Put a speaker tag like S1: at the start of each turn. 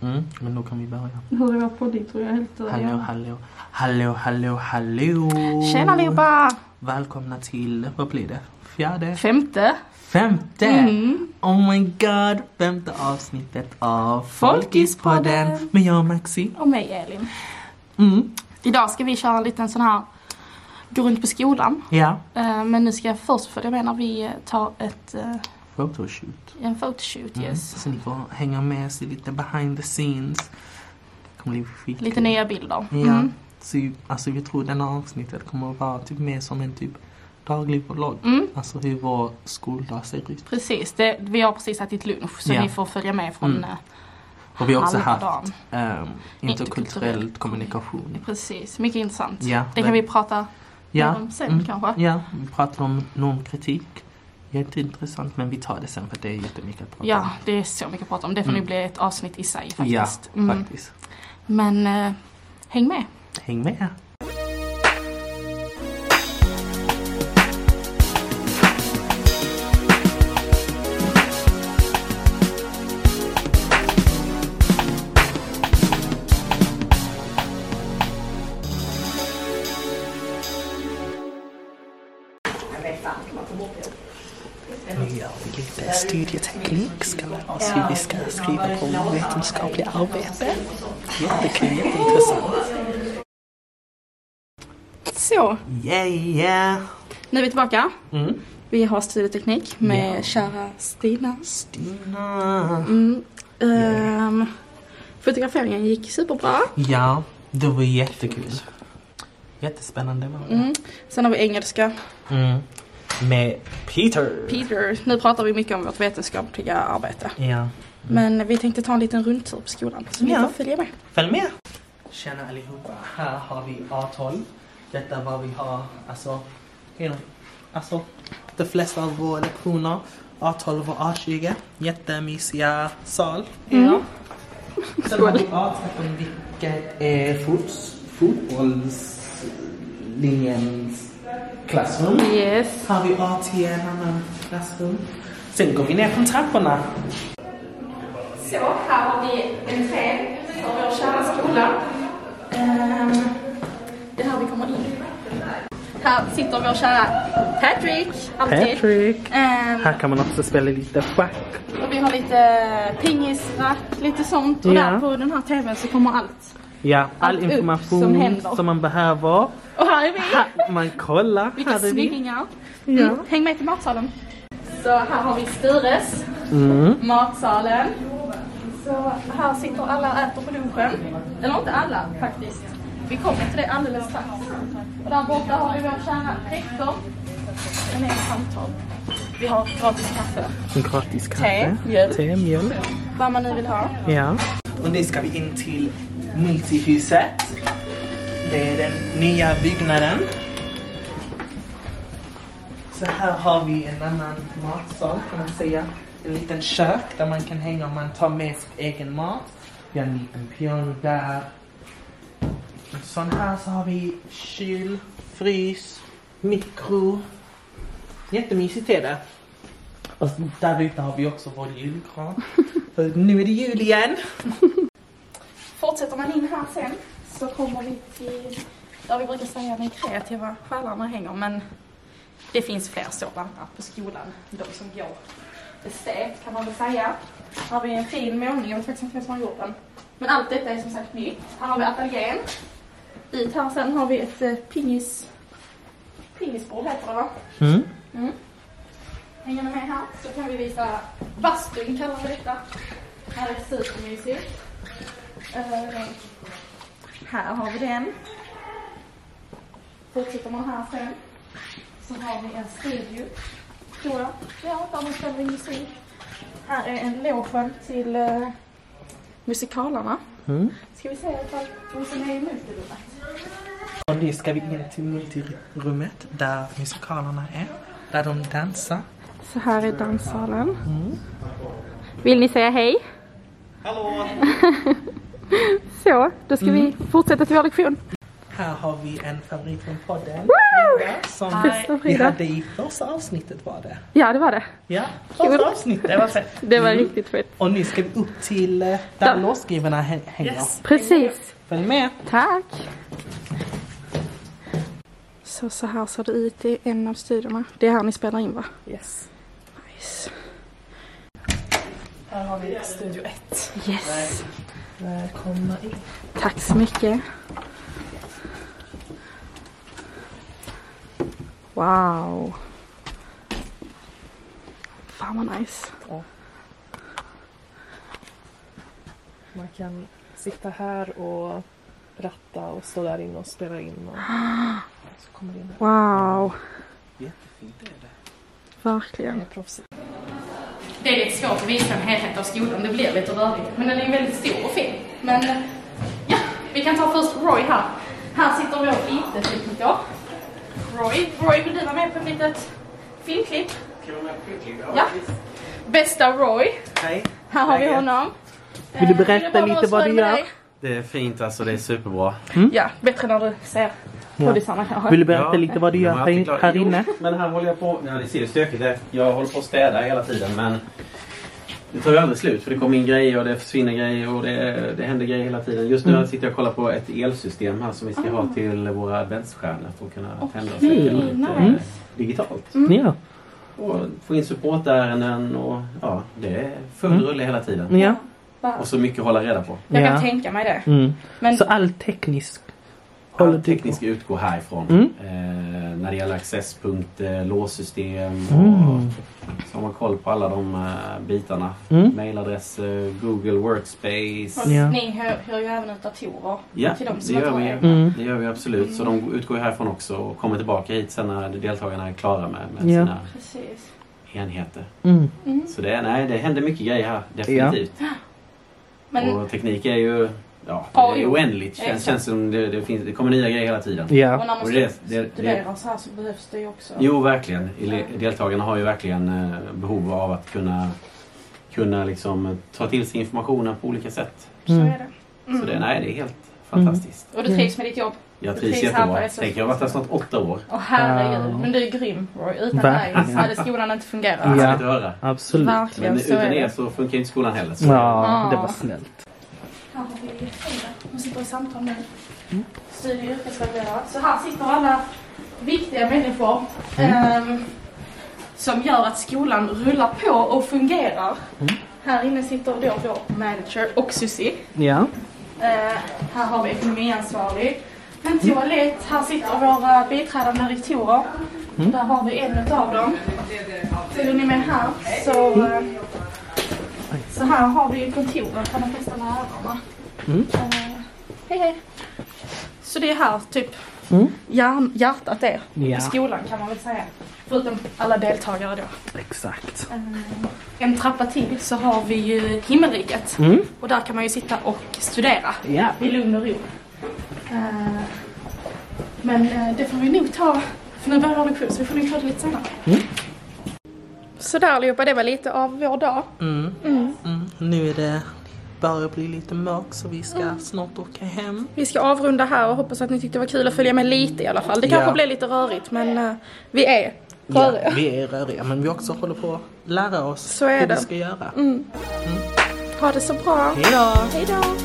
S1: Mm, men då kan vi börja.
S2: Hurra poddy tror jag helt att
S1: Hallå,
S2: göra.
S1: hallå, hallå, hallå, hallå!
S2: Tjena allihopa!
S1: Välkomna till, vad blir det? Fjärde?
S2: Femte.
S1: Femte!
S2: Mm.
S1: Oh my god! Femte avsnittet av
S2: Folkispodden.
S1: Folkispodden med jag och Maxi.
S2: Och mig Elin.
S1: Mm,
S2: Idag ska vi köra en liten sån här gå runt på skolan.
S1: ja.
S2: Eh, Men nu ska jag först följa med när vi eh, tar ett, eh,
S1: Photoshoot.
S2: en photoshoot.
S1: Mm.
S2: Yes.
S1: Så ni får hänga med sig lite behind the scenes. Det kommer bli skitkul.
S2: Lite nya Mm. bilder.
S1: Ja. Så, ju- alltså vi tror den här avsnittet kommer att vara typ mer som en typ daglig vlogg.
S2: Mm.
S1: Alltså hur vår skoldag ser ut.
S2: Precis, det, vi har precis ätit lunch så
S1: Ja.
S2: ni får följa med från
S1: Mm.
S2: eh,
S1: Och vi har också
S2: halva
S1: haft
S2: dagen.
S1: ehm, interkulturell
S2: Interkulturell
S1: kommunikation.
S2: Precis, mycket intressant.
S1: Ja,
S2: det kan vi prata mer
S1: ja,
S2: om sen
S1: mm.
S2: kanske.
S1: ja, vi pratar om normkritik. Jätteintressant men vi tar det sen för det är jättemycket att prata om.
S2: Ja, det är så mycket att prata om. Det får
S1: Mm.
S2: nu bli ett avsnitt i sig
S1: Ja,
S2: faktiskt. Mm.
S1: faktiskt.
S2: Men eh, häng med.
S1: Häng med! Nu gör vi lite studieteknik, ska lära oss hur vi ska skriva på vetenskapliga arbete. Det kan bli jätteintressant.
S2: Så,
S1: Yeah, yeah.
S2: nu är vi tillbaka.
S1: Mm.
S2: Vi har studieteknik med
S1: Ja.
S2: kära Stina.
S1: Stina.
S2: Mm. ehm, fotograferingen gick superbra.
S1: Ja, det var jättekul. Jättespännande var det.
S2: Mm. Sen har vi engelska.
S1: Mm. Med Peter.
S2: Peter, nu pratar vi mycket om vårt vetenskapliga arbete.
S1: Ja.
S2: Men vi tänkte ta en liten rundtur på skolan så ni
S1: Ja.
S2: får följa med.
S1: Följ med! Tjena allihopa, här har vi A12. Detta är vad vi har, alltså, hela, alltså de flesta av våra lektioner. A12 och A20, jättemysiga sal.
S2: Mm.
S1: Sen har vi A13 vilket är fots, fotbollslinjens klassrum.
S2: Yes.
S1: Har vi A10 en annan klassrum. Sen går vi ner från trapporna.
S2: Så, här har vi entrén för vår kära skola. Ehm, det är här vi kommer in. Här sitter vår kära Patrick, alltid.
S1: Patrick.
S2: Ehm,
S1: Här kan man också spela lite schack.
S2: Och vi har lite pingisrack, lite sånt. Och
S1: Ja.
S2: där på den här tvn så kommer allt.
S1: Ja, all
S2: Allt upp
S1: information
S2: som händer.
S1: som man behöver.
S2: Och här är vi!
S1: Här, man kollar.
S2: Vilka
S1: här är vi.
S2: snyggingar!
S1: Ja.
S2: Mm, häng med till matsalen. Så här har vi Stures,
S1: Mm.
S2: matsalen. Så här sitter alla och äter på lunchen. Eller inte alla faktiskt. Vi kommer till det alldeles strax. Och där borta har vi vår kära rektor. En är i samtal. Vi har gratis kaffe.
S1: Gratis kaffe.
S2: mjölk.
S1: Te, mjölk.
S2: Vad man nu vill ha.
S1: Ja. Och nu ska vi in till multihuset. Det är den nya byggnaden. Så här har vi en annan matsal kan man säga. En liten kök där man kan hänga om man tar med sin egen mat. Vi har en liten piano där. Och Sån här så har vi kyl, frys, mikro. Jättemysigt är det. Och där ute har vi också vår julgran. För nu är det jul igen.
S2: Fortsätter man in här sen så kommer vi till där vi brukar säga den kreativa själarna hänger men det finns fler sådana på skolan, de som går estet kan man väl säga. Här har vi en fin målning, jag vet faktiskt inte vem som har gjort den. Men allt detta är som sagt nytt. Här har vi ateljén. Dit här sen har vi ett eh, pingis... pingisbord heter det va?
S1: Mm.
S2: Mm. Hänger ni med här så kan vi visa bastun kallar vi detta. Här är supermysigt. Eh, här har vi den. Fortsätter man här sen så har vi en studio. Tror jag. Ja, där man spelar in musik. Här är en logen till eh, musikalerna.
S1: Mm.
S2: Ska vi se ifall rosen är i multirummet?
S1: Och nu ska vi in till multirummet där musikalerna är. Där de dansar.
S2: Så här är danssalen. Mm. Vill ni säga hej?
S1: Hallå!
S3: Mm.
S2: Så, då ska vi fortsätta till vår lektion.
S1: Här har vi en favorit från podden.
S3: Woo!
S1: Frida, Som
S2: Hej.
S1: vi
S3: Frida.
S1: hade i första avsnittet var det.
S3: Ja, det var det.
S1: Ja, första
S3: Kul.
S1: avsnittet. Det var fett.
S3: Det var
S1: Mm.
S3: riktigt fett.
S1: Och nu ska vi upp till eh, där
S3: Där.
S1: låtskrivarna hä- hänger.
S2: Yes.
S3: Precis.
S1: Följ med.
S3: Tack. Så, så här ser det ut i en av studiorna. Det är här ni spelar in va?
S1: Yes.
S3: Nice.
S2: Här har vi Studio 1.
S3: Yes.
S1: Välkomna in.
S3: Tack så mycket. Wow. Fan vad nice.
S4: Man kan sitta här och ratta och stå där inne och spela in. Och så kommer det in här.
S3: Wow.
S1: Jättefint är det.
S4: Det
S3: Verkligen.
S4: är proffsigt.
S2: Det är lite svårt att visa en helhet av skolan, det blir lite rörigt. Men den är ju väldigt stor och fin. Men eh, ja, vi kan ta först Roy här. Här sitter vår inte då. Roy, Roy vill du vara med på ett litet filmklipp? Ja. Bästa Roy,
S5: Hej.
S2: här har vi
S5: Läget?
S2: honom.
S1: Vill du
S2: Eh,
S1: berätta
S2: bara
S1: lite
S2: vara
S1: vad du
S2: snäll med
S1: gör?
S2: dig.
S5: Det är fint alltså, det är superbra.
S2: Ja, bättre när du ser poddisarna kanske.
S1: Vill du berätta
S5: Ja.
S1: lite vad du gör
S5: Ja,
S1: här,
S5: förklara.
S1: här
S5: Jo,
S1: inne?
S5: Men här håller jag på, ja ni ser ju stökigt där. Jag håller på att städa hela tiden men det tar ju aldrig slut för det kommer in grejer och det försvinner grejer och det, det händer grejer hela tiden. Just nu
S1: Mm.
S5: sitter jag och kollar på ett elsystem här som vi ska
S1: Ah.
S5: ha till våra adventsstjärnor för att kunna tända och släcka
S2: Okej,
S5: lite eh,
S2: nice.
S5: digitalt.
S2: Mm.
S1: Ja.
S5: Och få in supportärenden och ja, det är full
S1: Mm.
S5: rulle hela tiden.
S1: ja.
S5: Och så mycket att hålla reda på.
S2: Jag
S1: Ja.
S2: kan tänka mig det.
S1: Mm.
S2: Men
S1: Så all teknisk håller
S5: All
S1: du
S5: teknik
S1: på?
S5: ska utgå härifrån.
S1: Mm.
S5: Eh, när det gäller accesspunkter, låssystem och
S1: Mm.
S5: så har man koll på alla de eh, bitarna.
S1: Mm.
S5: Mailadresser, Google Workspace.
S2: och
S1: Ja.
S2: ni hör, hör ju även ut datorer.
S5: Ja,
S2: Till de
S5: det
S2: som inte
S5: gör,
S2: har Mm.
S5: vi,
S2: egna.
S1: Mm.
S5: det gör vi absolut. Så de utgår ju härifrån också och kommer tillbaka hit sen när deltagarna är klara med, med
S1: Ja.
S5: sina
S2: Precis.
S5: enheter.
S1: Mm.
S5: Så det, är- nej, det händer mycket grejer här, definitivt.
S2: Men
S5: Och teknik är ju ja, det
S2: Ja,
S5: är
S2: jo.
S5: oändligt.
S2: Exakt.
S5: Känns, känns som det, det, finns, det kommer nya grejer hela tiden.
S2: Och
S1: Ja.
S2: när man
S5: Och det- det-
S2: studerar så här så behövs det ju också.
S5: Jo, verkligen. Ele- Deltagarna har ju verkligen eh, behov av att kunna, kunna liksom eh, ta till sig informationen på olika sätt.
S2: Så
S1: Mm.
S2: är det. Mm.
S5: Så det, nej, det är helt fantastiskt.
S2: Och du trivs med ditt jobb?
S5: Jag
S2: Det
S5: trivs
S2: trivs här på
S5: jättebra.
S2: SFS.
S5: Tänk, jag har varit här snart åtta år.
S2: Åh herregud,
S1: Ja.
S2: men du är grym Roy. Utan dig
S1: Verkligen.
S2: hade skolan inte fungerat.
S5: Jag
S1: Ja.
S5: ska inte höra.
S1: Absolut.
S5: Men
S2: Verkligen, så är
S5: utan er
S2: det.
S5: så funkar ju inte skolan heller. Så.
S1: Ja,
S2: Ja.
S1: det var snällt.
S2: Här har vi Frida, hon sitter i samtal med
S1: Mm.
S2: studie och yrkesvägledare. Så här sitter alla viktiga människor
S1: Mm.
S2: ehm, som gör att skolan rullar på och fungerar.
S1: Mm.
S2: Här inne sitter då vår manager och Susie.
S1: Ja.
S2: Eh, här har vi ekonomiansvarig. En toalett, här sitter våra biträdande rektorer.
S1: Mm.
S2: Där har vi en utav dem. Följer ni med här så, eh, så här har vi ju kontoren för de flesta lärarna.
S1: Mm.
S2: Eh, hej hej. Så det är här typ
S1: Mm.
S2: hjärn, hjärtat är.
S1: Ja.
S2: i Skolan kan man väl säga. Förutom alla deltagare då.
S1: Exakt.
S2: En trappa till så har vi ju himmelriket.
S1: Mm.
S2: Och där kan man ju sitta och studera
S1: Ja.
S2: i lugn och ro. Eh, Men eh, det får vi nog ta, för nu börjar lektion så vi får nog ta det lite senare.
S1: Mm.
S2: Sådär allihopa, det var lite av vår dag.
S1: Mm. Mm. Nu är det börjar bli lite mörkt så vi ska
S2: Mm.
S1: snart åka hem.
S2: Vi ska avrunda här och hoppas att ni tyckte det var kul att följa med lite i alla fall. Det
S1: Ja.
S2: kanske blev lite rörigt men eh, vi är röriga.
S1: Ja, vi är röriga men vi också håller på att lära oss
S2: Så är
S1: hur
S2: det. Mm.
S1: vi ska göra.
S2: Ha det så bra.
S1: Hejdå!
S2: Hej då!